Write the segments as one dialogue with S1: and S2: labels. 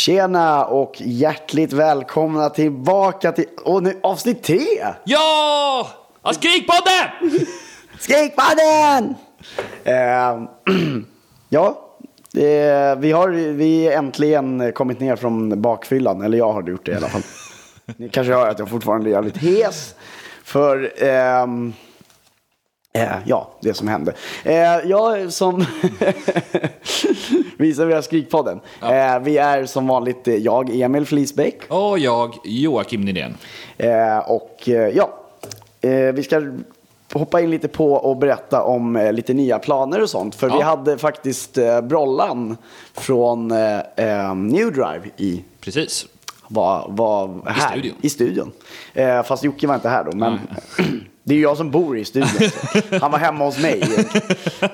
S1: Tjena och hjärtligt välkomna tillbaka till och nu, avsnitt tre!
S2: Ja! Ja, Skrikpodden!
S1: Skrikmannen! Eh, ja, eh, vi har vi är äntligen kommit ner från bakfyllan, eller jag har gjort det i alla fall. Ni kanske hör att jag fortfarande är jävligt hes. För... ehm, Eh, ja, det som hände. Eh, jag som visar vi har Skrikpodden. Eh, vi är som vanligt eh, jag, Emil Flisbäck.
S2: Och jag, Joakim Nydén.
S1: Eh, och eh, ja, eh, vi ska hoppa in lite på och berätta om eh, lite nya planer och sånt. För
S2: Ja.
S1: vi hade faktiskt eh, Brollan från eh, eh, New Drive i
S2: Precis.
S1: var, var här
S2: studion.
S1: I studion. Eh, fast Jocke var inte här då. Men det är ju jag som bor i studion. så. Han var hemma hos mig.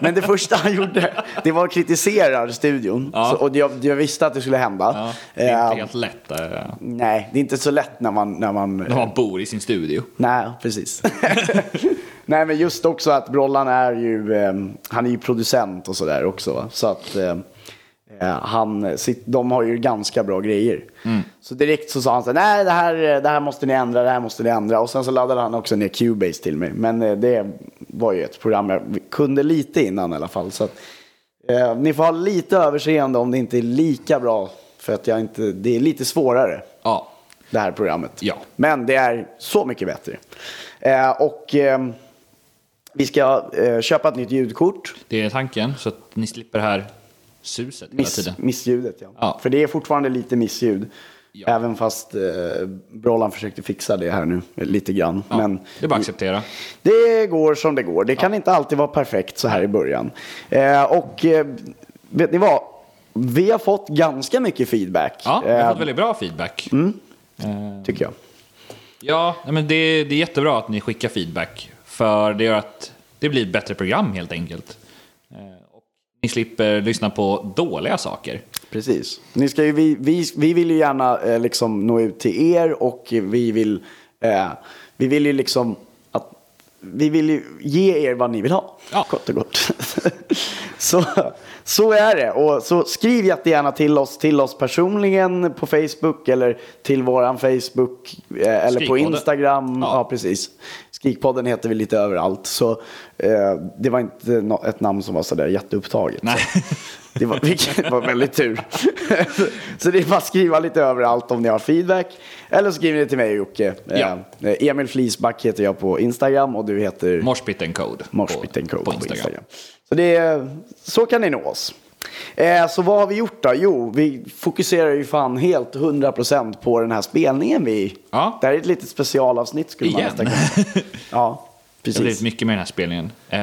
S1: Men det första han gjorde, det var att kritisera studion.
S2: Ja.
S1: Så, och jag, jag visste att det skulle
S2: Ja,
S1: hända.
S2: det är
S1: Eh,
S2: inte helt lätt eh,
S1: nej, det är inte så lätt när man... När man
S2: när man bor i sin studio.
S1: Nej, precis. Nej, men just också att Brollan är ju, eh, han är ju producent och sådär också. Va? Så att eh, eh, han, sitt, de har ju ganska bra grejer. Så direkt så sa han så här, nej det här, eh, det här måste ni ändra, det här måste ni ändra. Och sen så laddade han också ner Cubase till mig. Men eh, det var ju ett program jag kunde lite innan i alla fall. Så att, eh, ni får ha lite överseende om det inte är lika bra. För att jag inte, det är lite svårare
S2: Ja.
S1: det här programmet.
S2: Ja.
S1: Men det är så mycket bättre. Eh, och eh, vi ska eh, köpa ett nytt ljudkort.
S2: Det är tanken, så att ni slipper det här suset hela
S1: Miss,
S2: tiden.
S1: missljudet, ja.
S2: Ja.
S1: För det är fortfarande lite missljud.
S2: Ja.
S1: Även fast eh, Brollan försökte fixa det här nu eh, lite grann.
S2: Ja,
S1: Men
S2: det är bara att acceptera.
S1: det går som det går. Det kan inte alltid vara perfekt så här i början. Eh, och eh, vet ni vad? Vi har fått ganska mycket feedback.
S2: Ja, vi har
S1: eh,
S2: fått väldigt bra feedback.
S1: Mm.
S2: Eh,
S1: Tycker jag.
S2: Ja, nej, men det, det är jättebra att ni skickar feedback. För det gör att det blir ett bättre program helt enkelt. Eh, och ni slipper lyssna på dåliga saker.
S1: Precis. Ni ska ju, vi, vi, vi vill ju gärna eh, liksom nå ut till er och eh, vi vill, eh, vi vill ju liksom att vi vill ju ge er vad ni vill ha.
S2: Ja.
S1: Kort och gott. så, så är det. Och så skriv jättegärna till oss, till oss personligen på Facebook eller till våran Facebook eh, eller på
S2: Skrikpodden.
S1: Instagram. Ja.
S2: Ja.
S1: precis. Skrikpodden heter vi lite överallt. Så eh, det var inte nå- ett namn som var sådär jätteupptaget.
S2: Nej.
S1: Det var, vilket var väldigt tur. Så det är bara att skriva lite överallt om ni har feedback. Eller så skriver ni till mig och Jocke.
S2: Ja.
S1: Eh, Emil Flisback heter jag på Instagram och du heter
S2: Morsbit and Code. på-
S1: Morsbitten Code på Instagram. Så, det, är- så kan ni nå oss. Eh, så vad har vi gjort då? Jo, vi fokuserar ju fan helt 100% på den här spelningen vi...
S2: Ja.
S1: Det här är ett litet specialavsnitt skulle
S2: Igen.
S1: man nästan kunna... Ja,
S2: Det har blivit
S1: precis.
S2: mycket med den här spelningen. Eh,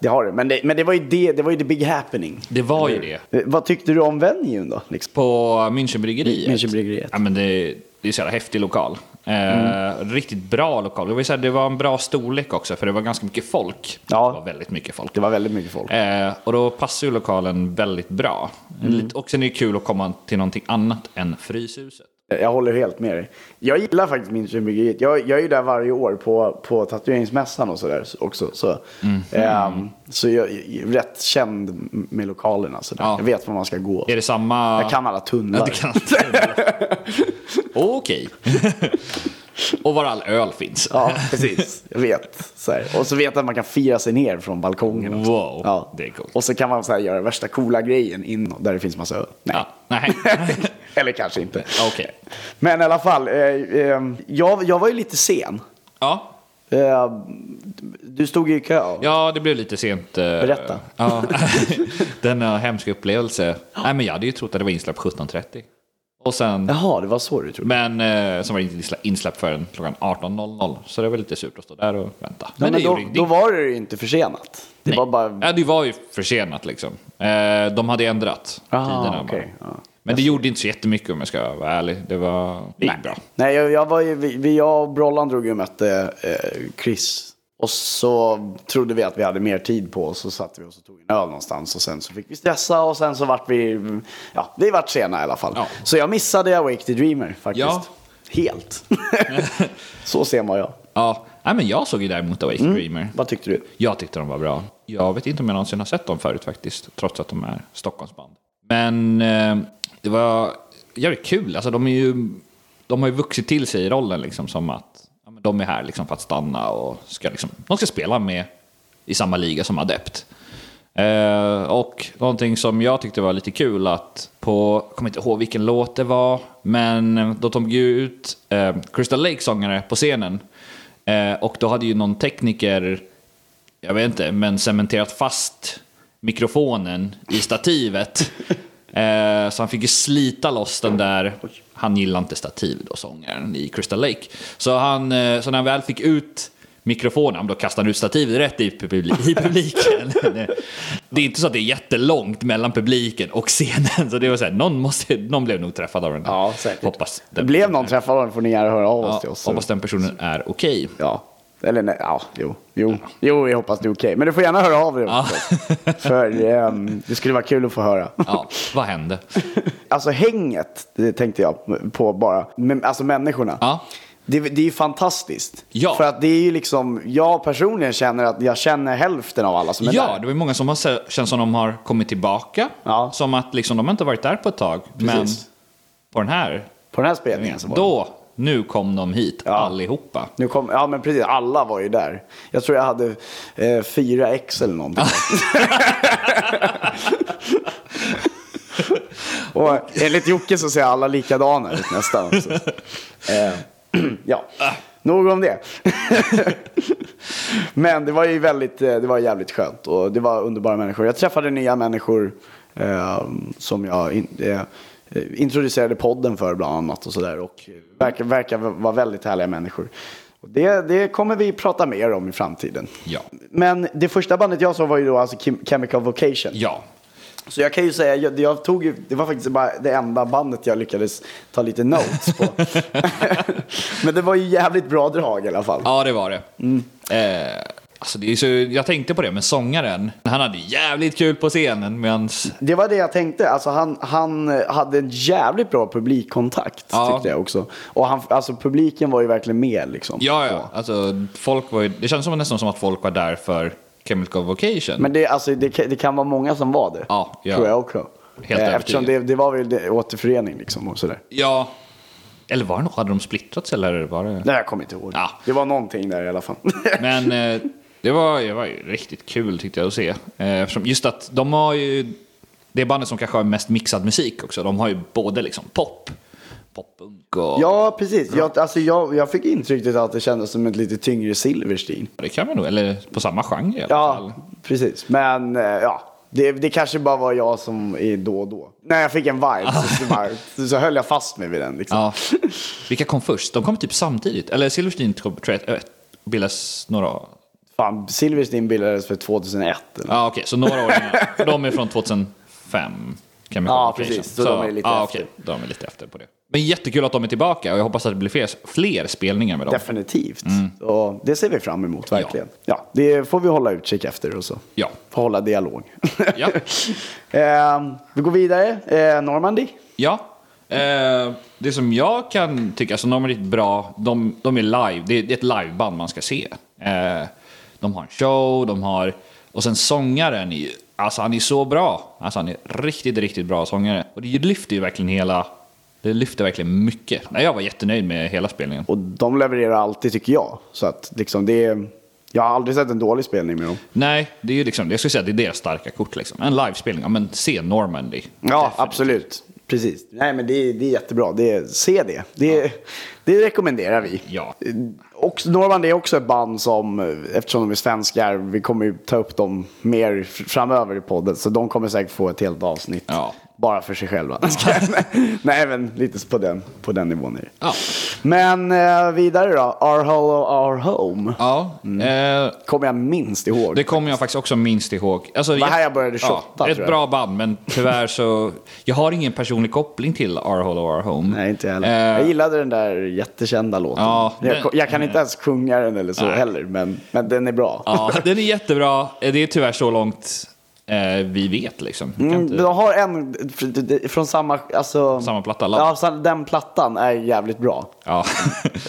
S1: Det har det. Men det, men det var ju det, det var ju the big happening.
S2: det var ju det.
S1: Eh, Vad tyckte du om venuen då? Liksom?
S2: På Münchenbryggeriet.
S1: Münchenbryggeriet.
S2: Ja, men det, det är så jävla häftig lokal. Eh,
S1: Mm.
S2: Riktigt bra lokal. Det var, ju så här, det var en bra storlek också, för det var ganska mycket folk.
S1: Ja.
S2: Det var väldigt mycket folk.
S1: Det var väldigt mycket folk.
S2: Eh, och då passar ju lokalen väldigt bra.
S1: Mm.
S2: Lite, och sen är det kul att komma till någonting annat än Fryshuset.
S1: Jag håller helt med dig. Jag gillar faktiskt Münchenbryggeriet. Jag, jag är ju där varje år på, på tatueringsmässan och sådär också. Så,
S2: Mm.
S1: ehm, så jag är rätt känd med lokalerna. Sådär.
S2: Ja.
S1: Jag vet var man ska gå.
S2: Är det samma...
S1: Jag kan alla tunnlar.
S2: Ja, du kan inte. Okej. och var all öl finns.
S1: Ja, precis. Jag vet. Så här. Och så vet jag att man kan fira sig ner från balkongen. också.
S2: Wow,
S1: Ja.
S2: det är coolt.
S1: Och så kan man så här göra värsta coola grejen in där det finns massa öl. Nej.
S2: Ja, nej.
S1: Eller kanske inte.
S2: Okej.
S1: Men i alla fall, eh, ehm, jag, jag var ju lite sen.
S2: Ja,
S1: Eh, du stod ju i kö.
S2: Ja, det blev lite sent. eh,
S1: Berätta.
S2: Ja, denna hemska upplevelse. Nej, men jag hade ju trott att det var insläpp 17.30. Och sen,
S1: Jaha, det var så du trodde.
S2: men eh, sen var det inte insla- insläpp förrän klockan 18.00. Så det var lite surt att stå där och vänta.
S1: Men,
S2: det
S1: men då,
S2: gjorde ingenting.
S1: då var det ju inte försenat. Det
S2: Nej.
S1: var bara...
S2: Ja, det var ju försenat liksom. Eh, de hade ändrat
S1: Aha,
S2: tiderna. bara.
S1: okej, ja.
S2: Men det gjorde inte så jättemycket om jag ska vara ärlig. Det var det gick bra.
S1: Nej, jag, jag var ju... Vi, vi- jag och Brollan drog ju och mötte eh, Chris. Och så trodde vi att vi hade mer tid på oss. Så satte vi oss och tog en öl någonstans. Och sen så fick vi stressa och sen så vart vi... Ja, vi vart sena i alla fall.
S2: Ja.
S1: Så jag missade Awake the Dreamer faktiskt.
S2: Ja.
S1: Helt. så ser man jag.
S2: Ja, nej, men jag såg ju däremot Awake
S1: Mm.
S2: Dreamer.
S1: Vad tyckte du?
S2: Jag tyckte de var bra. Jag vet inte om jag någonsin har sett dem förut faktiskt, trots att de är Stockholmsband. Men eh, det var jävligt kul. Alltså, de, är ju, de har ju vuxit till sig i rollen liksom, som att ja, men de är här liksom, för att stanna och ska, liksom, de ska spela med i samma liga som adept. Eh, och någonting som jag tyckte var lite kul att på, jag kommer inte ihåg vilken låt det var, men eh, då tog ju ut eh, Crystal Lake sångare på scenen. Eh, och då hade ju någon tekniker, jag vet inte, men cementerat fast mikrofonen i stativet. Eh, så han fick ju slita loss den där. Han gillar inte stativ då, sångaren i Crystal Lake. Så, han, eh, så när han väl fick ut mikrofonen, då kastade han ut stativet rätt i, publi- i publiken. det är inte så att det är jättelångt mellan publiken och scenen. Så det var så här, någon, måste, någon blev nog träffad av den.
S1: Ja, säkert.
S2: Hoppas den,
S1: Blev någon träffad av den får ni gärna höra av oss
S2: ja,
S1: till oss. så-
S2: hoppas den personen är okej.
S1: Ja. Eller nej, ja, jo. Jo, jo jag hoppas det är okej. Men du får gärna höra av dig också. För ehm, det skulle vara kul att få höra.
S2: Ja, vad hände?
S1: Alltså hänget, det tänkte jag på bara. Men, alltså människorna.
S2: Ja.
S1: Det, det är ju fantastiskt.
S2: Ja.
S1: För att det är ju liksom, jag personligen känner att jag känner hälften av alla som är
S2: ja,
S1: där.
S2: det var ju många som har se- känns som de har kommit tillbaka.
S1: Ja.
S2: Som att liksom, de har inte varit där på ett tag. Men
S1: Precis.
S2: på den här,
S1: På den här spelningen så var det.
S2: då, nu kom de hit allihopa.
S1: Nu kom, ja men precis, alla var ju där. Jag tror jag hade eh, fyra ex eller någonting. Och enligt Jocke så ser alla likadana ut nästan. Så. Eh, ja, nog om det. men det var ju väldigt, eh, det var jävligt skönt och det var underbara människor. Jag träffade nya människor eh, som jag in, eh, introducerade podden för bland annat och sådär. Och verkar, verkar vara väldigt härliga människor. Och det, det kommer vi prata mer om i framtiden.
S2: Ja.
S1: Men det första bandet jag såg var ju då alltså Chem- Chemical Vocation.
S2: Ja,
S1: Så jag kan ju säga, jag, jag tog ju, det var faktiskt bara det enda bandet jag lyckades ta lite notes på. Men det var ju jävligt bra drag i alla fall.
S2: ja det var det.
S1: Mm.
S2: Eh, alltså det är så, jag tänkte på det med sångaren. Han hade jävligt kul på scenen medans...
S1: Det var det jag tänkte, alltså han, han eh, hade en jävligt bra publikkontakt
S2: Ja.
S1: tyckte jag också. Och han, alltså publiken var ju verkligen med liksom.
S2: Ja, ja. Alltså, folk var ju, det kändes som, nästan som att folk var där för Chemical Vocation.
S1: Men det, alltså, det, kan- det kan vara många som var det,
S2: Ja, ja.
S1: tror jag också.
S2: Helt
S1: Eh, Eftersom det,
S2: övertygad.
S1: det var väl det, återförening liksom och sådär.
S2: Ja. Eller var det nog, hade de splittrats eller var det...
S1: Nej, jag kommer inte ihåg.
S2: Ja.
S1: Det var någonting där i alla fall.
S2: Men eh, det, var, det var ju riktigt kul tyckte jag att se. Eh, eftersom just att de har ju... Det är bandet som kanske har mest mixad musik också. De har ju både liksom pop, poppunk och...
S1: Ja, precis. Jag, alltså, jag, jag fick intrycket att det kändes som ett lite tyngre Silverstein.
S2: Det kan man nog, eller på samma genre i alla fall.
S1: Ja, precis. Men eh, ja, det, det kanske bara var jag som är då och då. När jag fick en vibe så, så, bara, så- så höll jag fast mig vid den. Liksom.
S2: Ja. Vilka kom först? De kom typ samtidigt. Eller Silverstein kom, tror jag, äh, bildas några... Ja,
S1: Fan, Silverstein bildades för 2001. Eller?
S2: ah, okej, så några år innan. De är från 2005. Chemical
S1: Ja,
S2: Vacation.
S1: precis. Så de är lite
S2: ja,
S1: efter.
S2: okej, de är lite efter på det. Men jättekul att de är tillbaka och jag hoppas att det blir fler, fler spelningar med dem.
S1: Definitivt.
S2: Mm.
S1: Och det ser vi fram emot verkligen. Ja. det får vi hålla utkik efter och så.
S2: Ja.
S1: Får hålla dialog.
S2: Ja.
S1: eh, vi går vidare. Eh, Normandy.
S2: Ja. Eh, det som jag kan tycka, så de är riktigt bra, de, de är live, det är, det är ett liveband man ska se. Eh, de har en show, de har... Och sen sångaren, är ju, alltså han är så bra. Alltså han är riktigt, riktigt bra sångare. Och det lyfter ju verkligen hela... Det lyfter verkligen mycket. Nej, jag var jättenöjd med hela spelningen.
S1: Och de levererar alltid tycker jag. Så att liksom det är... Jag har aldrig sett en dålig spelning med dem.
S2: Nej, det är ju liksom, jag skulle säga att det är deras starka kort liksom. En livespelning, ja men se Normandy.
S1: Ja, absolut. Precis. Nej, men det, är- det är jättebra. Det, är- se det. Det, det rekommenderar vi.
S2: Ja.
S1: Och Norman är också ett band som, eftersom de är svenskar, vi kommer ju ta upp dem mer f- framöver i podden. Så de kommer säkert få ett helt avsnitt.
S2: Ja.
S1: Bara för sig själva. Nej, men lite på den, på den nivån är det.
S2: Ja.
S1: Men eh, vidare då. Our Hollow Our Home.
S2: Ja. Eh,
S1: Kommer jag minst ihåg.
S2: Det kommer jag faktiskt också minst ihåg. Alltså,
S1: var här jag började shotta,
S2: Ett
S1: tror jag.
S2: bra band, men tyvärr så... Jag har ingen personlig koppling till Our Hollow Our Home.
S1: Nej, inte jag heller.
S2: Eh,
S1: jag gillade den där jättekända låten.
S2: Ja,
S1: jag,
S2: den- eh.
S1: jag kan inte ens sjunga den eller så heller, men, men den är bra.
S2: ja, den är jättebra. Eh, Det är tyvärr så långt eh, vi vet liksom. Vi kan
S1: Mm,
S2: inte,
S1: de har en fr- från samma... Alltså,
S2: Samma platta, alla.
S1: ja, sam- den plattan är jävligt bra.
S2: ja.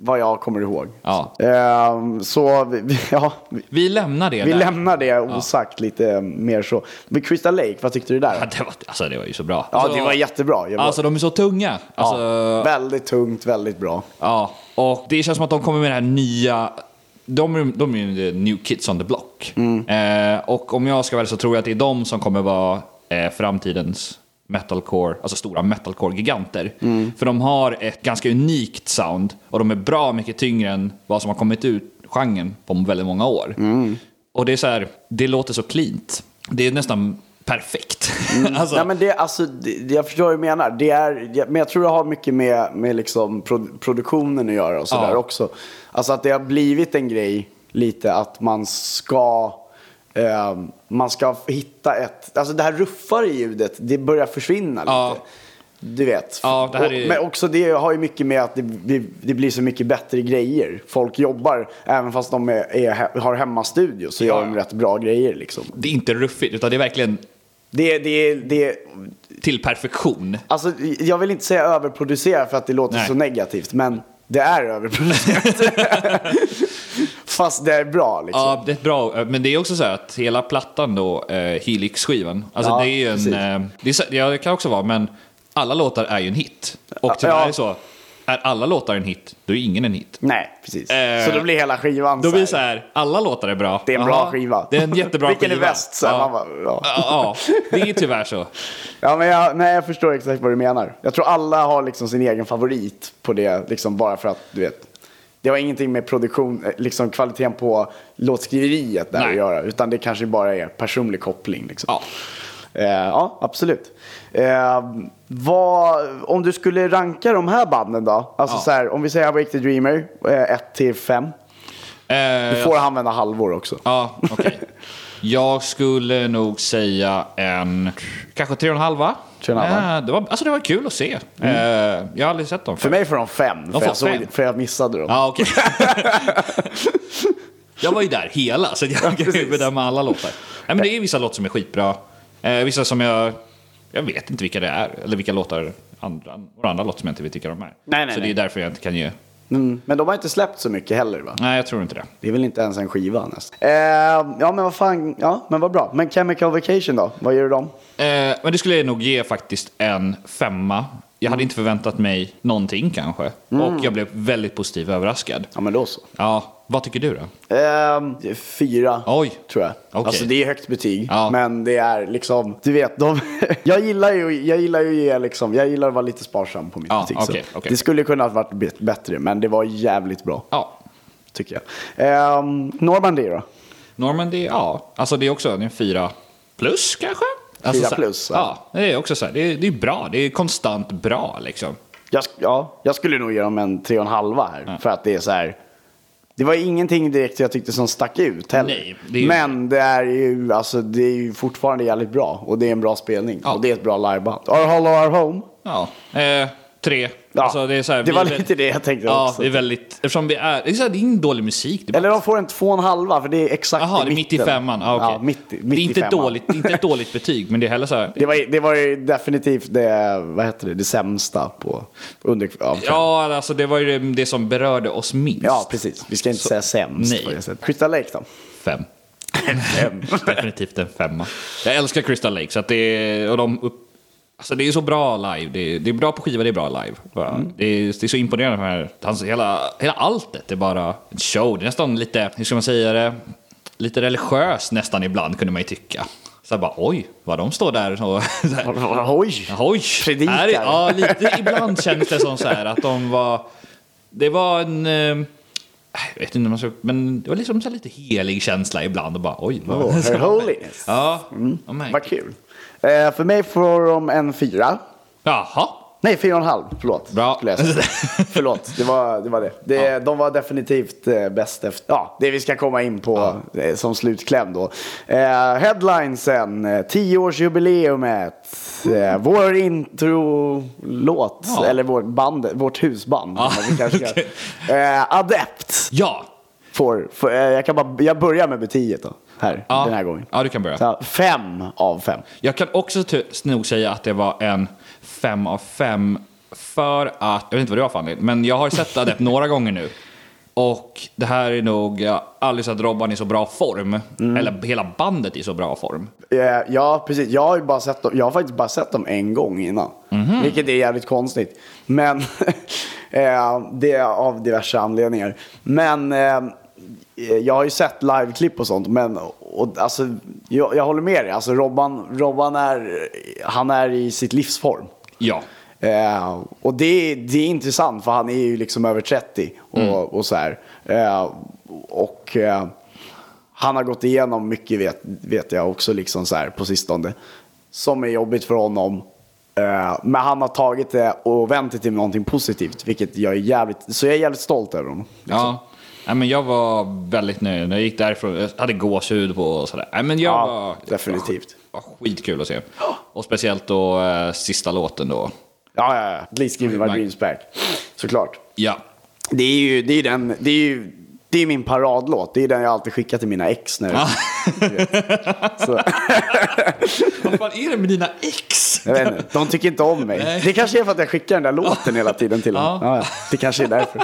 S1: Vad jag kommer ihåg.
S2: ja.
S1: Ehm, så vi- vi, ja, vi,
S2: Vi lämnar det
S1: vi
S2: där.
S1: lämnar det osagt lite eh, mer så. Men Crystal Lake, vad tyckte du
S2: Ja,
S1: där?
S2: det, var, alltså, det var ju så bra.
S1: Ja,
S2: alltså,
S1: det var jättebra. Jag var,
S2: Alltså de är så tunga. Alltså,
S1: ja, väldigt tungt, väldigt bra.
S2: Ja, och det känns som att de kommer med det här nya... De, är- de är ju the new kids on the block.
S1: Mm.
S2: Eh, och om jag ska välja så tror jag att det är de som kommer vara eh, framtidens metalcore, alltså stora metalcore-giganter.
S1: Mm.
S2: För de har ett ganska unikt sound och de är bra mycket tyngre än vad som har kommit ut genren på väldigt många år.
S1: Mm.
S2: Och det är så här, det låter så cleant. Det är nästan perfekt. alltså,
S1: Nej, men det, alltså, det, det- jag förstår vad du menar. Det är, jag- men jag tror det har mycket med, med liksom pro, produktionen att göra och sådär
S2: Ja.
S1: också. Alltså att det har blivit en grej lite att man ska, eh, man ska hitta ett... Alltså det här ruffare ljudet, det börjar försvinna
S2: Ja.
S1: lite. Du vet.
S2: Ja, det här är-
S1: och, men också det har ju mycket med att det, blir- det blir så mycket bättre grejer. Folk jobbar, även fast de är, är, har hemmastudio, så
S2: Ja.
S1: gör de rätt bra grejer. Liksom.
S2: det är inte ruffigt, utan det är verkligen
S1: Det, det, det,
S2: till perfektion.
S1: Alltså, jag vill inte säga överproducera för att det låter
S2: Nej.
S1: så negativt, men det är överproducerat. Fast det är bra liksom.
S2: Ja, det är ett bra. eh, Men det är också så här att hela plattan då, eh, Helix-skivan, alltså
S1: Ja,
S2: det är ju en...
S1: precis.
S2: Eh, det, är, så- ja, det kan också vara, men alla låtar är ju en hit. Och
S1: Ja,
S2: tyvärr är
S1: ja.
S2: det så, är alla låtar en hit, då är ingen en hit.
S1: Nej, precis.
S2: Eh,
S1: så då blir hela skivan
S2: Då
S1: så
S2: blir
S1: här.
S2: det så här, alla låtar är bra.
S1: Det är en bra
S2: Jaha,
S1: skiva.
S2: Det är en jättebra
S1: Vilken är
S2: skiva.
S1: bäst? Så här, man bara, ja.
S2: ja, ja, det är ju tyvärr så.
S1: Ja, men jag, nej, jag förstår exakt vad du menar. Jag tror alla har liksom sin egen favorit på det, liksom bara för att du vet. Det har ingenting med produktion, eh, liksom kvaliteten på låtskriveriet där
S2: Nej.
S1: att göra, utan det kanske bara är personlig koppling. Liksom.
S2: Ja.
S1: Eh, ja, absolut. Eh, vad, om du skulle ranka de här banden då? Alltså
S2: Ja.
S1: så här, om vi säger Awake the Dreamer, 1 till 5.
S2: Eh,
S1: Du får använda halvor också.
S2: Ja, okej. Jag skulle nog säga en... Kanske tre och en halva.
S1: Tre och en Mm. halva.
S2: Eh, det, var, alltså det var kul att se. Eh, jag har aldrig sett dem
S1: För
S2: förut.
S1: mig får de 5, för,
S2: får
S1: jag såg-
S2: fem.
S1: för jag missade dem.
S2: Ja, okej. jag var ju där hela, så jag kan ju
S1: precis.
S2: bedöma alla låtar. Nej, men det är vissa låtar som är skitbra. Eh, vissa som jag... Jag vet inte vilka det är, eller vilka låtar andra, några andra låtar som jag inte vet vilka de är.
S1: Nej, nej,
S2: så det
S1: nej.
S2: är därför jag inte kan ge...
S1: Mm. Men de har inte släppt så mycket heller va?
S2: Nej, jag tror inte det.
S1: Det är väl inte ens en skiva nästan. Eh, ja men vad fan, ja men vad bra. Men Chemical Vacation då? Vad gör du dem?
S2: Eh, men det skulle jag nog ge faktiskt en femma. Jag
S1: Mm.
S2: hade inte förväntat mig någonting kanske. Och jag blev väldigt positivt överraskad.
S1: Ja men då så.
S2: Ja, vad tycker du då?
S1: Eh, fyra,
S2: Oj.
S1: tror jag.
S2: Okej.
S1: Alltså det är högt betyg,
S2: Ja.
S1: men det är liksom, du vet, de, jag gillar ju, jag gillar ju att ge liksom, jag gillar att vara lite sparsam på mitt
S2: Ja,
S1: betyg.
S2: okej,
S1: så.
S2: okej.
S1: Det skulle kunna ha varit bet- bättre, men det var jävligt bra,
S2: Ja,
S1: tycker jag. Eh, Normandy då?
S2: Normandy, ja. Alltså det är också en fyra plus kanske? Alltså,
S1: Fyra
S2: så här-
S1: plus, ja.
S2: Ja, det är också så här, det är, det är bra. Det är konstant bra liksom.
S1: Jag, sk- ja, jag skulle nog ge dem en tre och en halva här. För att det är så här. Det var ingenting direkt jag tyckte som stack ut heller.
S2: Nej, det är ju-
S1: Men det är, ju, alltså, det är ju fortfarande jävligt bra. Och det är en bra spelning.
S2: Ja.
S1: Och det är ett bra liveband. Our Hollow Our Home.
S2: Ja, eh, tre.
S1: Ja,
S2: Alltså, det är så här,
S1: det
S2: vi
S1: var
S2: är väl-
S1: lite det jag tänkte
S2: Ja,
S1: också.
S2: det är väldigt... Eftersom vi är... Det är, så här, det är ingen dålig musik. Det är bara-
S1: Eller de får en två och en halva för det är exakt
S2: Jaha, det är mitt i
S1: mitten.
S2: femman. Ah, okej.
S1: ja, mitt, i- mitt
S2: det är
S1: i
S2: inte,
S1: femman.
S2: dåligt, det är inte ett dåligt betyg, men det är heller så här...
S1: Det var, ju- det var ju definitivt det, vad heter det, det sämsta på under... Ja,
S2: Ja, alltså det var ju det- det som berörde oss minst.
S1: ja, precis. Vi ska inte säga sämst.
S2: nej.
S1: på det sättet. Crystal Lake då?
S2: Fem. Definitivt en femma. Jag älskar Crystal Lake, så att det är... Och de upp, alltså det är så bra live. Det är, det är bra på skiva, det är bra live. Bara. Det, är, det är så imponerande med här, hans, hela, hela alltet. Det är bara en show. Det är nästan lite, hur ska man säga det? Lite religiöst nästan ibland, kunde man ju tycka. Så här bara, oj, vad de står där och... Så här,
S1: Oj!
S2: Oj!
S1: Predikar.
S2: Här är- ja, lite, ibland kändes det som så här att de var... Det var en... eh, Jag vet inte om man ska... Men det var liksom så här lite helig känsla ibland och bara oj. vad-
S1: Oh, her holiness.
S2: Ja. Oh my.
S1: Vad kul. Eh, för mig får de en fyra.
S2: Jaha.
S1: Nej, fyra och en halv. Förlåt.
S2: Bra.
S1: Skulle jag säga. Förlåt, det var det. Var det. det De var definitivt eh, bäst efter. Ja, det vi ska komma in på eh, som slutkläm då. Eh, headlinesen, eh, tioårsjubileumet, eh, vår introlåt,
S2: Ja.
S1: eller vårt, band, vårt husband.
S2: Ja,
S1: kan man kanske kalla det. eh, Adept
S2: Ja.
S1: får, får eh, jag, kan bara, jag börjar med betyget då. här
S2: Ja.
S1: den här gången.
S2: Ja, du kan börja.
S1: Så, fem av fem.
S2: Jag kan också ty- nog säga att det var en fem av fem för att, jag vet inte vad du har Fanny, men jag har sett Adept några gånger nu. Och det här är nog, jag har aldrig sett Robban i så bra form.
S1: Mm.
S2: Eller hela bandet i så bra form.
S1: Eh, Ja, precis. Jag har, ju bara sett dem, jag har faktiskt bara sett dem en gång innan. Vilket är jävligt konstigt. Men eh, det är av diverse anledningar. Men eh, jag har ju sett liveklipp och sånt. Men och, alltså, jag, jag håller med dig. Alltså, Robban, Robban är, han är i sitt livsform.
S2: Ja.
S1: Eh, och det, är- det är intressant för han är ju liksom över 30 och, och så här. Eh, och eh, han har gått igenom mycket vet, vet jag också liksom så här på sistone. Som är jobbigt för honom. Eh, men han har tagit det och vänt det till någonting positivt. Vilket jag är jävligt, så jag är jävligt stolt över honom.
S2: Ja. Nej, men jag var väldigt nöjd. Jag gick därifrån, jag hade gåshud på och sådär. Nej, men jag
S1: Ja,
S2: var,
S1: definitivt.
S2: Det var skitkul att se. Och speciellt då eh, sista låten då.
S1: Ja, ja, ja. Please give me my dreams back. Såklart.
S2: Ja.
S1: Det är ju, det är ju den, det är ju, det är min paradlåt. Det är den jag alltid skickar till mina ex nu. Så.
S2: Vad fan är det med dina ex?
S1: Jag vet inte, de tycker inte om mig.
S2: Nej.
S1: Det kanske är för att jag skickar den där låten hela tiden till dem.
S2: Ja.
S1: Ja. ja, det kanske är därför.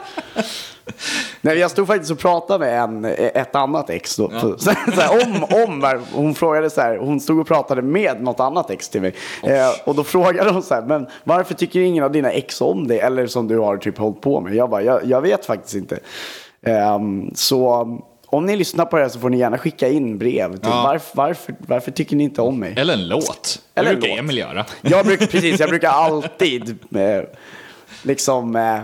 S1: Nej, jag stod faktiskt och pratade med en, ett annat ex. Då. Så, så här, om, om, var- hon frågade så här, hon stod och pratade med något annat ex till mig. Eh, och då frågade hon så här, men varför tycker ingen av dina ex om dig? Eller som du har typ hållit på med. Jag bara, jag, jag vet faktiskt inte. Ehm, så om ni lyssnar på det här så får ni gärna skicka in brev. Till,
S2: Ja.
S1: varför, varför, varför tycker ni inte om mig?
S2: Eller en låt.
S1: Eller
S2: det
S1: en
S2: brukar
S1: låt.
S2: Emil göra.
S1: Jag brukar, precis, jag brukar alltid eh, liksom eh,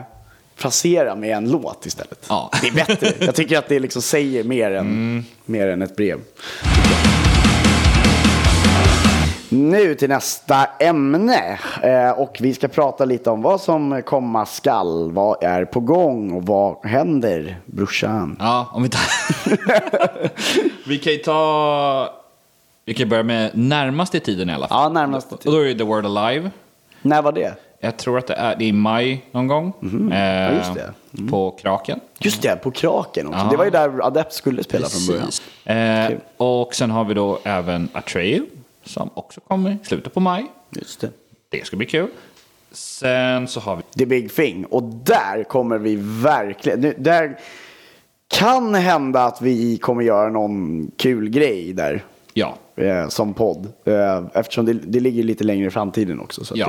S1: frasera med en låt istället.
S2: Ja.
S1: Det är bättre. Jag tycker att det liksom säger mer än, mer än ett brev. Nu till nästa ämne. Eh, och vi ska prata lite om vad som komma skall. Vad är på gång och vad händer brorsan?
S2: Ja, om vi tar... vi kan ju ta... Vi kan börja med närmaste tiden i alla fall.
S1: Ja, närmaste
S2: Och
S1: tiden.
S2: då är det The World Alive.
S1: När var det?
S2: Jag tror att det är, det är i maj någon gång. Eh,
S1: Mhm. Ja, just det. Mm.
S2: På Kraken.
S1: Just det, på Kraken också.
S2: Ja.
S1: Det var ju där Adept skulle spela från början.
S2: Eh,
S1: Kul.
S2: och sen har vi då även Atreu som också kommer i slutet på maj.
S1: Just det.
S2: Det ska bli kul. Sen så har vi...
S1: The Big Thing. Och där kommer vi verkligen... Nu, där kan hända att vi kommer göra någon kul grej där.
S2: Ja,
S1: Eh, som podd. Eh, eftersom det, det ligger lite längre i framtiden också. Så att
S2: Ja.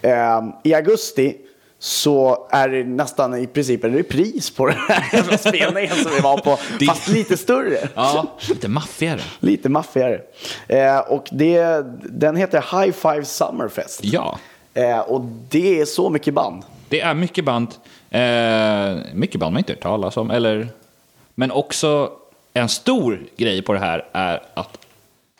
S1: det är skit. eh, I augusti så är det nästan i princip en repris på den här jävla spelningen som vi var på.
S2: Det-
S1: Fast lite större.
S2: ja lite maffigare.
S1: Lite maffigare. Eh, och det, den heter High Five Summerfest.
S2: Ja.
S1: Eh, och det är så mycket band.
S2: Det är mycket band. Eh, mycket band man inte hört talas om. Eller, men också en stor grej på det här är att,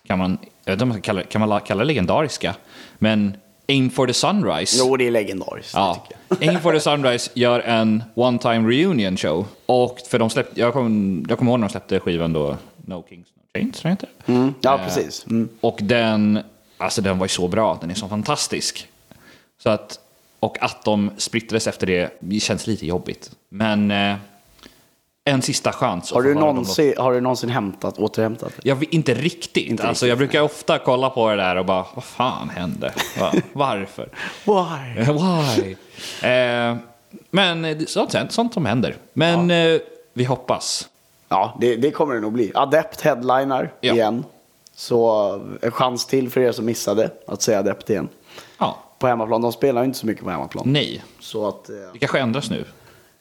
S2: kan man, jag vet inte om man ska kalla, det- kan man la- kalla det legendariska, men Aim for the Sunrise.
S1: Jo, det är legendariskt. det
S2: Ja.
S1: tycker jag.
S2: Aim for the Sunrise gör en one time reunion show. Och för de släppte, jag kommer jag kommer ihåg när de släppte skivan då, No Kings No Chains, tror jag den heter.
S1: Ja,
S2: Eh,
S1: precis.
S2: Och den, alltså den var ju så bra, den är så fantastisk. Så att, och att de splittrades efter det, det känns lite jobbigt. Men eh, en sista chans. att få
S1: Har du,
S2: höra dem låta-
S1: någonsin, har du någonsin hämtat, återhämtat det?
S2: Jag vet inte riktigt.
S1: Inte
S2: alltså, jag brukar ofta kolla på det där och bara, vad fan hände? Va, varför?
S1: Why?
S2: Why? eh, men det är sånt, sånt som händer. Men eh, vi hoppas.
S1: Ja, det, det kommer det nog bli. Adept headliner
S2: Ja.
S1: igen. Så en chans till för er som missade att säga adept igen.
S2: Ja,
S1: På hemmaplan, de spelar ju inte så mycket på hemmaplan.
S2: nej.
S1: Så att, eh,
S2: Det kanske ändras nu.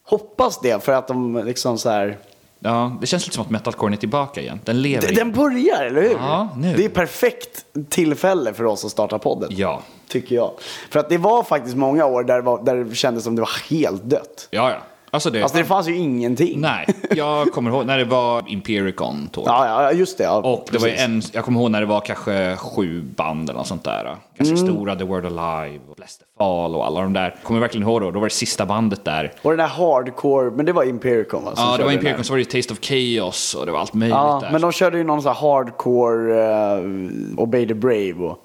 S1: hoppas det för att de liksom så här.
S2: Ja, det känns lite som att metalcoren är tillbaka igen. Den lever.
S1: Den börjar, eller hur?
S2: Ja, nu.
S1: Det är perfekt tillfälle för oss att starta podden.
S2: Ja.
S1: Tycker jag. För att det var faktiskt många år där det, var, där det kändes som det var helt dött.
S2: Ja, ja. Alltså det...
S1: Alltså det fanns ju ingenting.
S2: Nej, jag kommer ihåg när det var Impericon tåg.
S1: Ja, ja, ja, just det. Ja,
S2: Och det var ju
S1: precis.
S2: en, jag kommer ihåg när det var kanske sju band eller något sånt där. Ganska stora, The Word Alive, och Bless the Fall och alla de där. Kommer verkligen ihåg då, då var det sista bandet där.
S1: Och den där hardcore, men det var Impericon va? som
S2: Ja, det
S1: körde
S2: var
S1: den
S2: Impericon,
S1: här.
S2: så var det Taste of Chaos och det var allt möjligt
S1: Ja,
S2: där.
S1: eh, men de körde ju någon sån här hardcore, uh, Obey the Brave och...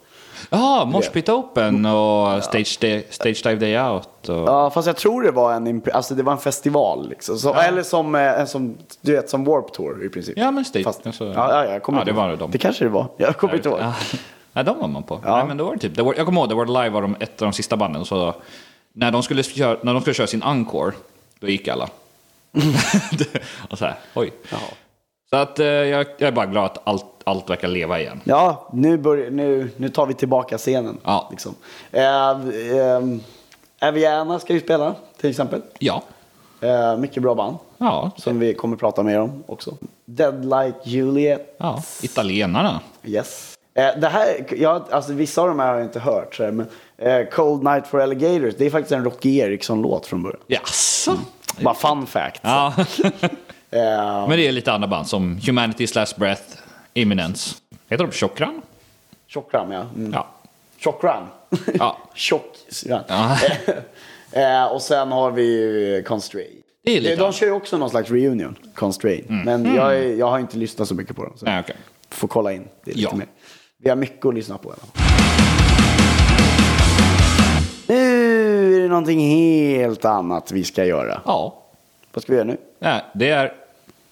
S2: Ja, Mosh Pit Open och Stage, Day, Stage Dive Day Out. Och...
S1: Ja, fast jag tror det var en, imp- alltså det var en festival liksom. Så, Eller som, eh, en som, du vet, som Warp Tour i princip.
S2: Ja, men Stage.
S1: Fast,
S2: alltså-
S1: ja, ja, jag kommer
S2: ja,
S1: inte
S2: det
S1: ihåg.
S2: var det de.
S1: Det kanske det var. Jag kommer inte ihåg.
S2: Ja. Nej, de var man på. Nej, men då var det typ, det var, jag kommer ihåg, det var live var de ett av de sista banden. Så när, de skulle köra, när de skulle köra sin encore, då gick alla. och så här, oj. Så att eh, jag, jag är bara glad att allt, allt verkar leva igen.
S1: Ja, nu, börjar, nu, nu tar vi tillbaka scenen.
S2: Ja.
S1: Liksom. Eh, eh, Aviana ska ju spela till exempel.
S2: Ja,
S1: Eh, mycket bra band
S2: ja, så,
S1: som vi kommer prata mer om också. Dead Like Juliet.
S2: ja. italienarna.
S1: Yes. Eh, det här, jag, alltså, vissa av de här har jag inte hört. Så här, men, eh, Cold Night for Alligators, det är faktiskt en Rocky Eriksson-låt från början.
S2: Jaså?
S1: Bara fun fact.
S2: Mm. Ja.
S1: Eh,
S2: men det är lite andra band som Humanity Slash Breath, Imminence. Heter de Chokran?
S1: Tjockram, ja. Mm.
S2: Ja.
S1: Tjockram.
S2: Ja.
S1: Tjockram.
S2: Ja.
S1: Eh, och sen har vi ju Constrain.
S2: Det är lite Mm.
S1: de
S2: annat.
S1: kör ju också någon slags reunion, Constrain. Men jag, är- jag har inte lyssnat så mycket på dem. Så
S2: Nej, okej.
S1: Får kolla in det lite
S2: Ja.
S1: mer. Vi har mycket att lyssna på. i alla fall. Nu är det någonting helt annat vi ska göra.
S2: Ja.
S1: Vad ska vi göra nu?
S2: Nej, det är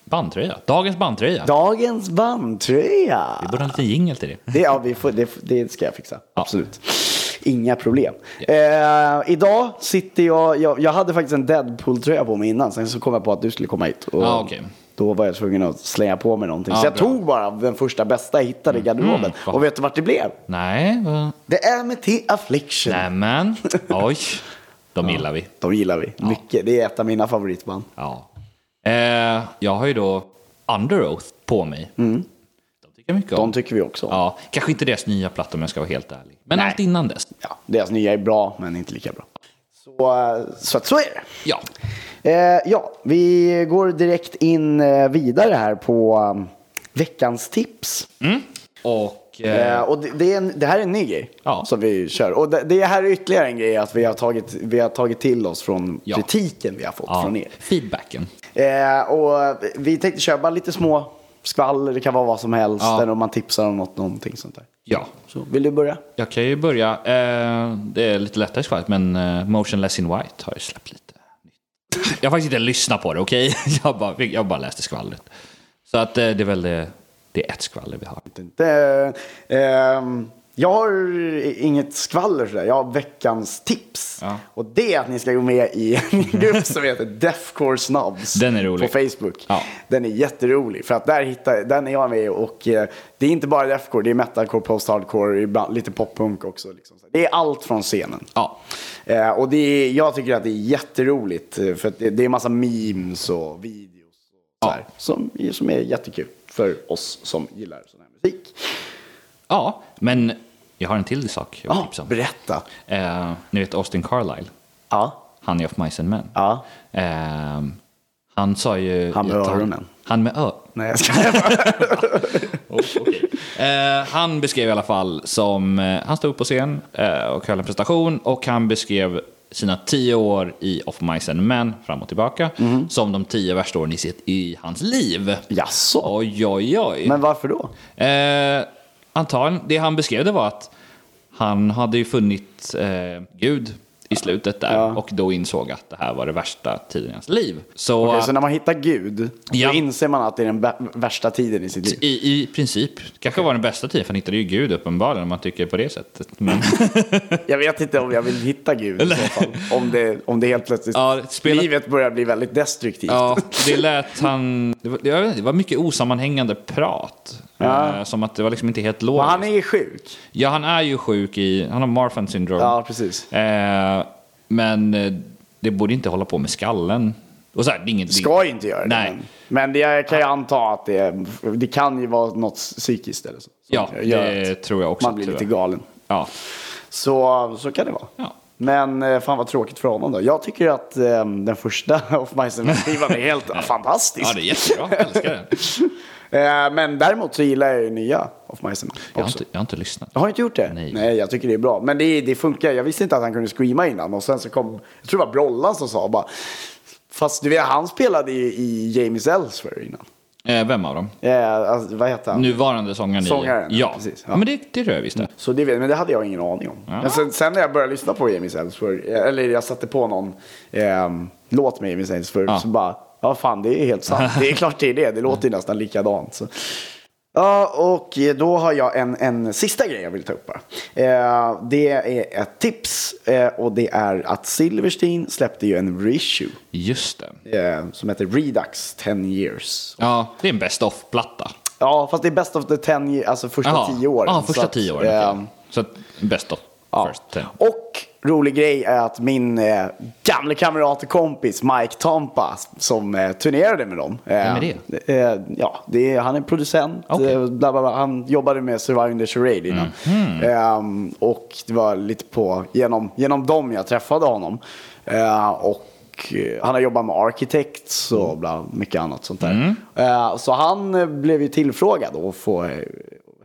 S2: bandtröja. Dagens bandtröja.
S1: Dagens bandtröja.
S2: Vi borde ha en liten jingel till det.
S1: Det, ja, vi får, det, det ska jag fixa. Absolut. Inga problem. Eh, idag sitter jag, jag, jag hade faktiskt en Deadpool-tröja på mig innan, sen så kom jag på att du skulle komma hit. Och
S2: Ja, Ah, okej.
S1: Då var jag tvungen att slänga på mig någonting.
S2: Ja,
S1: så jag
S2: bra. Mm.
S1: tog bara den första bästa jag hittade i garderoben.
S2: vad-
S1: och vet du vart det blev?
S2: Nej, va?
S1: Det är med The Affliction.
S2: nämen. Oj, de gillar vi.
S1: De gillar vi mycket. Det är ett av mina favoritband.
S2: Ja. Eh, jag har ju då Under Oath på mig. De tycker mycket om.
S1: Mm. De tycker vi också om. Ja.
S2: Ja, kanske inte deras nya platta om jag ska vara helt ärlig. Men allt innan dess.
S1: deras nya är bra, men inte lika bra. Så, eh, så, att så är det.
S2: Ja.
S1: Eh, ja, vi går direkt in eh, vidare här på um, veckans tips.
S2: Och... Eh,
S1: Eh, och det, det, är en, det här är en ny grej
S2: Ja.
S1: som vi kör. Och det, det här är ytterligare en grej att vi har tagit, vi har tagit till oss från
S2: Ja.
S1: kritiken vi har fått
S2: ja,
S1: från er.
S2: feedbacken.
S1: Eh, och vi tänkte köra bara lite små skvaller, det kan vara vad som helst.
S2: Ja.
S1: Eller om man tipsar om något, någonting sånt där.
S2: Ja.
S1: Så, vill du börja?
S2: Jag kan ju börja. Eh, det är lite lättare skvallret, men eh, Motionless in White har ju släppt lite nytt. Jag har faktiskt inte lyssnat på det, okej? Jag, bara, jag bara läste skvallret. Så att eh, det är väl det, det är ett skvaller vi har.
S1: Det, ehm, jag har inget skvaller sådär. Jag har veckans tips.
S2: Ja.
S1: Och det är att ni ska gå med i en grupp som heter Deathcore Snobs.
S2: Den är rolig.
S1: På Facebook.
S2: Ja.
S1: Den är jätterolig. För att där hittar, den är jag med i och eh, det är inte bara deathcore. Det är metalcore, post-hardcore, ibland lite poppunk också. Liksom. Det är allt från scenen.
S2: Ja.
S1: Eh, och det är, jag tycker att det är jätteroligt. eh, För att det, det är massa memes och videos. Och sådär, som, som är jättekul för oss som gillar sån här musik.
S2: Ja, men jag har en till sak jag vill
S1: Ja,
S2: tipsa om.
S1: berätta.
S2: Eh, ni vet Austin Carlyle,
S1: Ja.
S2: han är of Mice and Men.
S1: Ja.
S2: Eh, han sa ju...
S1: Han med
S2: i ett tal-
S1: öronen.
S2: Han med ö...
S1: Nej, jag skojar.
S2: Oh, okej. eh, han beskrev i alla fall som... Eh, han stod upp på scen eh, och höll en presentation och han beskrev sina tio år i Of Mice and Men, fram och tillbaka,
S1: Mhm.
S2: som de tio värsta åren i, sitt, i hans liv.
S1: Jaså?
S2: Oj, oj, oj.
S1: Men varför då?
S2: Eh, antagligen, det han beskrev det var att han hade ju funnit eh, Gud i slutet där
S1: Ja.
S2: och då insåg att det här var det värsta tiden i hans liv. Så,
S1: Okej, så när man hittar Gud,
S2: Ja.
S1: då inser man att det är den vä- värsta tiden i sitt liv.
S2: i, i princip, kanske var den bästa tiden för han hittade ju Gud uppenbarligen om man tycker på det sättet. Men,
S1: Jag vet inte om jag vill hitta Gud i så fall. Om det, om det helt plötsligt...
S2: Ja, spela-
S1: Livet börjar bli väldigt destruktivt.
S2: ja, det lät han... Det var, jag vet inte, det var mycket osammanhängande prat.
S1: Ja.
S2: Eh, som att det var liksom inte helt
S1: Och
S2: logiskt.
S1: han är ju sjuk.
S2: Ja, han är ju sjuk i... Han har Marfan syndrom.
S1: Ja, precis.
S2: Eh, men eh, det borde inte hålla på med skallen. Och så här, det är inget,
S1: Ska ju inte göra det.
S2: Nej.
S1: Men, men det, jag kan ju anta att det, är- det kan ju vara något psykiskt eller så. som
S2: Ja,
S1: gör
S2: det
S1: att
S2: tror jag också.
S1: Man blir lite
S2: tyvärr.
S1: galen.
S2: Ja.
S1: Så, så kan det vara.
S2: Ja.
S1: Men eh, fan vad tråkigt för honom då. Jag tycker att eh, den första Off Mice and skivan är helt fantastisk.
S2: ja, det är jättebra. Jag älskar den.
S1: Eh, men däremot så gillar jag ju nya Off Mice and
S2: Jag har
S1: också.
S2: inte, jag har inte lyssnat.
S1: Jag har inte gjort det?
S2: Nej.
S1: jag tycker det är bra. Men det, det funkar. Jag visste inte att han kunde screama innan. Och sen så kom, jag tror det var Brollan som sa bara, fast du vet han spelade ju i James Ellsworth innan.
S2: Eh, vem av dem?
S1: Eh, alltså, vad heter han?
S2: Nuvarande sångaren? i-
S1: Sångaren,
S2: Ja.
S1: precis, ja.
S2: ja. men det, det tror jag visst det.
S1: Så det, vet- men det hade jag ingen aning om. Men sen, sen när jag började lyssna på Jamie Sainsbury, eh, eller jag satte på någon eh, låt med Jamie Sainsbury,
S2: Ja.
S1: så bara, ja fan det är helt sant. Det är klart det är det, det låter ju nästan likadant. Så. Ja, och då har jag en, en sista grej jag vill ta upp bara. Eh, det är ett tips eh, och det är att Silverstein släppte ju en reissue
S2: Just det.
S1: eh, som heter Redux 10 years.
S2: Ja, det är en best of-platta.
S1: Ja, fast det är best of the 10, years, alltså första
S2: Jaha.
S1: 10 åren.
S2: Ja,
S1: Så
S2: första
S1: att,
S2: tio åren.
S1: eh,
S2: okej. Så att best of
S1: Ja.
S2: first ten.
S1: Och rolig grej är att min eh, gamle kamrat och kompis Mike Tampa som eh, turnerade med dem. Eh,
S2: Vem är
S1: Eh, ja, det är, han är producent.
S2: Okej.
S1: Eh, bla bla bla. Han jobbade med Surviving the Charade innan.
S2: Mhm.
S1: Eh, och det var lite på, genom, genom dem jag träffade honom. Eh, och eh, han har jobbat med Architects
S2: Mm.
S1: och bla, mycket annat sånt där. Eh, Så han eh, blev ju tillfrågad att få eh,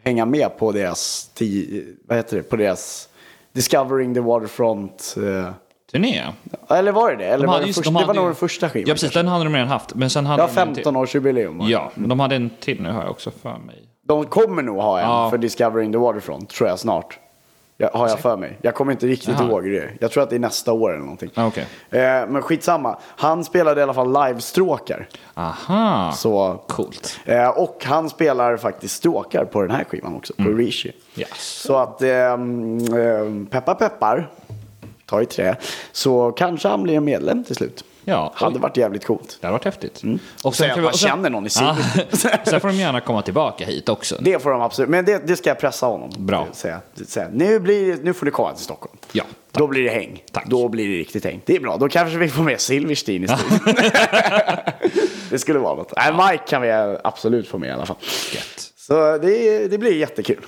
S1: hänga med på deras, ti- eh, vad heter det, på deras Discovering the Waterfront. eh,
S2: Turné.
S1: Eller var det det? Eller var det,
S2: just-
S1: första, det
S2: hade
S1: var nog
S2: ju-
S1: den första skivan.
S2: Ja, precis. Den hade de redan haft. Men sen hade
S1: Ja,
S2: de en till.
S1: 15-årsjubileum. var det.
S2: Ja, men de hade en till nu har jag också för mig.
S1: De kommer nog ha en
S2: Ja.
S1: för Discovering the Waterfront, tror jag snart. Jag, har jag för mig. Jag kommer inte riktigt
S2: Jaha.
S1: ihåg det. Jag tror att det är nästa år eller någonting.
S2: Ah, okej.
S1: Eh, men skitsamma. Han spelade i alla fall livestråkar.
S2: Aha,
S1: Så...
S2: coolt.
S1: Eh, och han spelar faktiskt stråkar på den här skivan också, på Rishi.
S2: Mm. Yes.
S1: Så att ehm, ehm, peppar peppar, ta i trä, så kanske han blir en medlem till slut.
S2: Ja,
S1: Hade
S2: oj.
S1: varit jävligt coolt.
S2: Det hade varit häftigt.
S1: Och Mm. säga att
S2: kan vi-
S1: man
S2: och sen-
S1: känner någon i
S2: Ja,
S1: Sigrid.
S2: sen får de gärna komma tillbaka hit också.
S1: Det får de absolut, men det, det ska jag pressa honom. eh,
S2: Bra.
S1: Säga, säga, nu, blir, nu får du komma till Stockholm.
S2: Ja, tack.
S1: Då blir det häng.
S2: Tack.
S1: Då blir det riktigt häng. Det är bra, då kanske vi får med Silverstein i studion. det skulle vara något. Nej, Mike kan vi absolut få med i alla fall.
S2: Gött.
S1: Så det, det blir jättekul.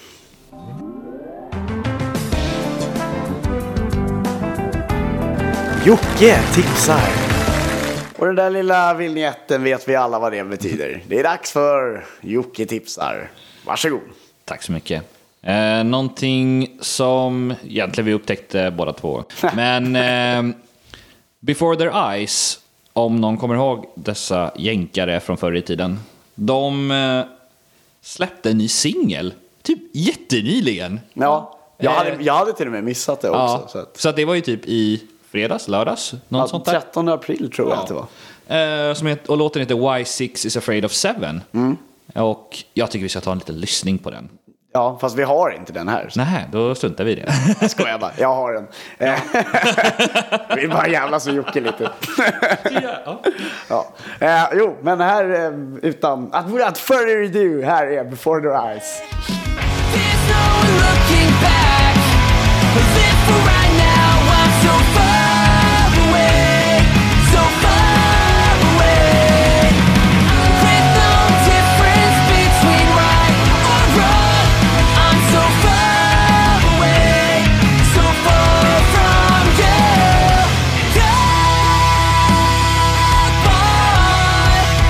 S1: Jocke tipsar. Och den där lilla vignetten vet vi alla vad det betyder. Det är dags för Jocke tipsar. Varsågod.
S2: Tack så mycket. Eh, någonting som egentligen vi upptäckte båda två. Men eh, Before Their Eyes, om någon kommer ihåg dessa jänkare från förr i tiden. De eh, släppte en ny singel, typ jättenyligen.
S1: Ja, jag
S2: Eh.
S1: hade, jag hade till och med missat det också.
S2: Ja,
S1: Så att,
S2: så att det var ju typ i fredags, lördags, något
S1: ja,
S2: sånt där.
S1: 13 april tror jag att det var. Mm.
S2: Eh, som heter, och låten heter Why Six Is Afraid of Seven. Och jag tycker vi ska ta en liten lyssning på den.
S1: Ja, fast vi har inte den här. Så
S2: Nej, då struntar vi i det.
S1: jag skojar bara. Jag har den. Eh, vi bara jävlas med Jocke lite.
S2: ja.
S1: Ja. Eh, jo, men här eh, utan... Att without further ado, här är Before Their Eyes.
S3: There's no one looking back. Live for right now. I'm so far away, so far away. There's no difference between right or wrong. I'm so far away, so far from you. Goodbye.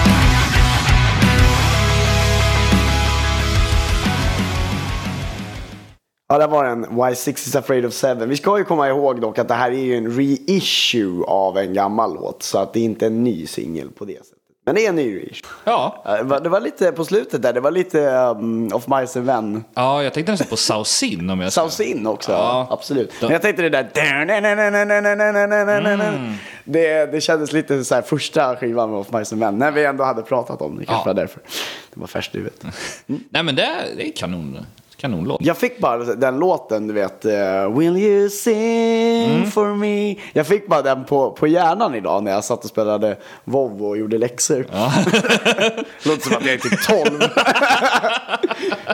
S1: Ja, där var den. Why Six is afraid of seven. Vi ska ju komma ihåg dock att det här är ju en reissue av en gammal låt. Så att det är inte en ny singel på det sättet. Men det är en ny reissue.
S2: ja.
S1: Eh, Det var, det var lite på slutet där, det var lite um, Of Mice and Men.
S2: Ja, jag tänkte nästan på Sausin om jag ska-
S1: Sausin också,
S2: Ja.
S1: absolut. Men jag tänkte det där... Det, det kändes lite så här första skivan med Of Mice and Men, när vi ändå hade pratat om det. kanske
S2: Ja.
S1: var därför. Det var färskt i huvudet.
S2: Nej, men det är, det är kanon, kanonlåt.
S1: Jag fick bara den låten, du vet. eh, Will you sing for me? Jag fick bara den på, på hjärnan idag när jag satt och spelade WoW och gjorde läxor. Låter som att jag är typ 12.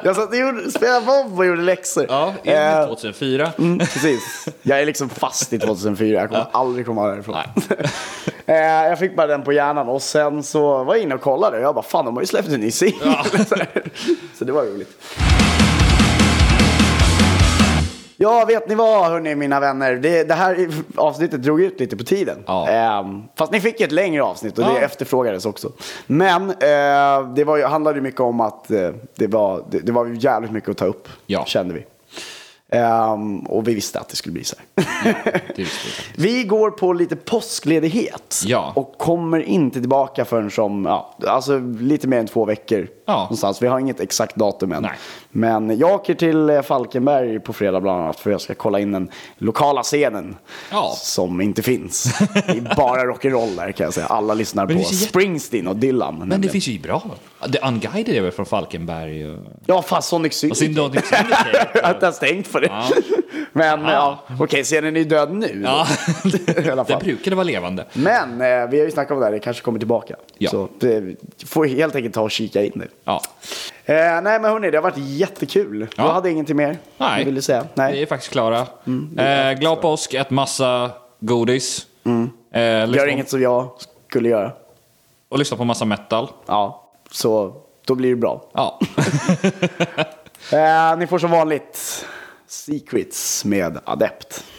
S1: jag satt och gjorde, spelade WoW och gjorde läxor.
S2: Ja,
S1: Eh,
S2: enligt 2004.
S1: Mm, precis. Jag är liksom fast i 2004. Jag kommer aldrig komma därifrån. Eh, jag fick bara den på hjärnan och sen så var jag inne och kollade och jag bara fan de har ju släppt en ny singel. Så här. så det var roligt. Ja, vet ni vad hörni mina vänner? Det, det här avsnittet drog ut lite på tiden.
S2: Ja.
S1: Ehm, fast ni fick ett längre avsnitt och det
S2: Ja.
S1: efterfrågades också. Men eh, det var, ju- handlade ju mycket om att eh, det, var, det, det var jävligt mycket att ta upp,
S2: Ja.
S1: kände vi. Ehm, och vi visste att det skulle bli så här.
S2: Det visste vi faktiskt.
S1: Vi går på lite påskledighet
S2: Ja.
S1: och kommer inte tillbaka förrän som, ja, alltså lite mer än två veckor.
S2: Ja.
S1: Någonstans. Vi har inget exakt datum än.
S2: Nej.
S1: Men jag åker till eh, Falkenberg på fredag bland annat för jag ska kolla in den lokala scenen.
S2: Ja.
S1: Som inte finns. Det är bara rock'n'roll där kan jag säga. Alla lyssnar
S2: Men
S1: på
S2: det finns ju jätte-
S1: Springsteen och Dylan.
S2: Men det
S1: nämligen.
S2: finns ju bra. The Unguided är väl från Falkenberg? Och...
S1: Ja, fast Sonic
S2: Och
S1: Syd.
S2: sin Donny Syndicate.
S1: Att jag har stängt för det. Men ja, okej, scenen är ju död nu.
S2: Ja.
S1: I alla
S2: Den
S1: fall.
S2: brukade vara levande.
S1: Men eh, vi har ju snackat om det här, det kanske kommer tillbaka.
S2: Ja.
S1: Så det, får helt enkelt ta och kika in nu.
S2: Ja.
S1: Eh, nej men hörni, det har varit jättekul.
S2: Ja.
S1: Jag hade ingenting mer
S2: Nej.
S1: jag ville säga.
S2: Vi
S1: Nej. Mm,
S2: är faktiskt klara. eh, glad påsk, ät massa godis. Eh, lyssna
S1: Mm. Gör
S2: på-
S1: inget som jag skulle göra.
S2: Och lyssna på massa metal.
S1: Ja, så då blir det bra.
S2: Ja.
S1: Eh, ni får som vanligt Secrets med Adept.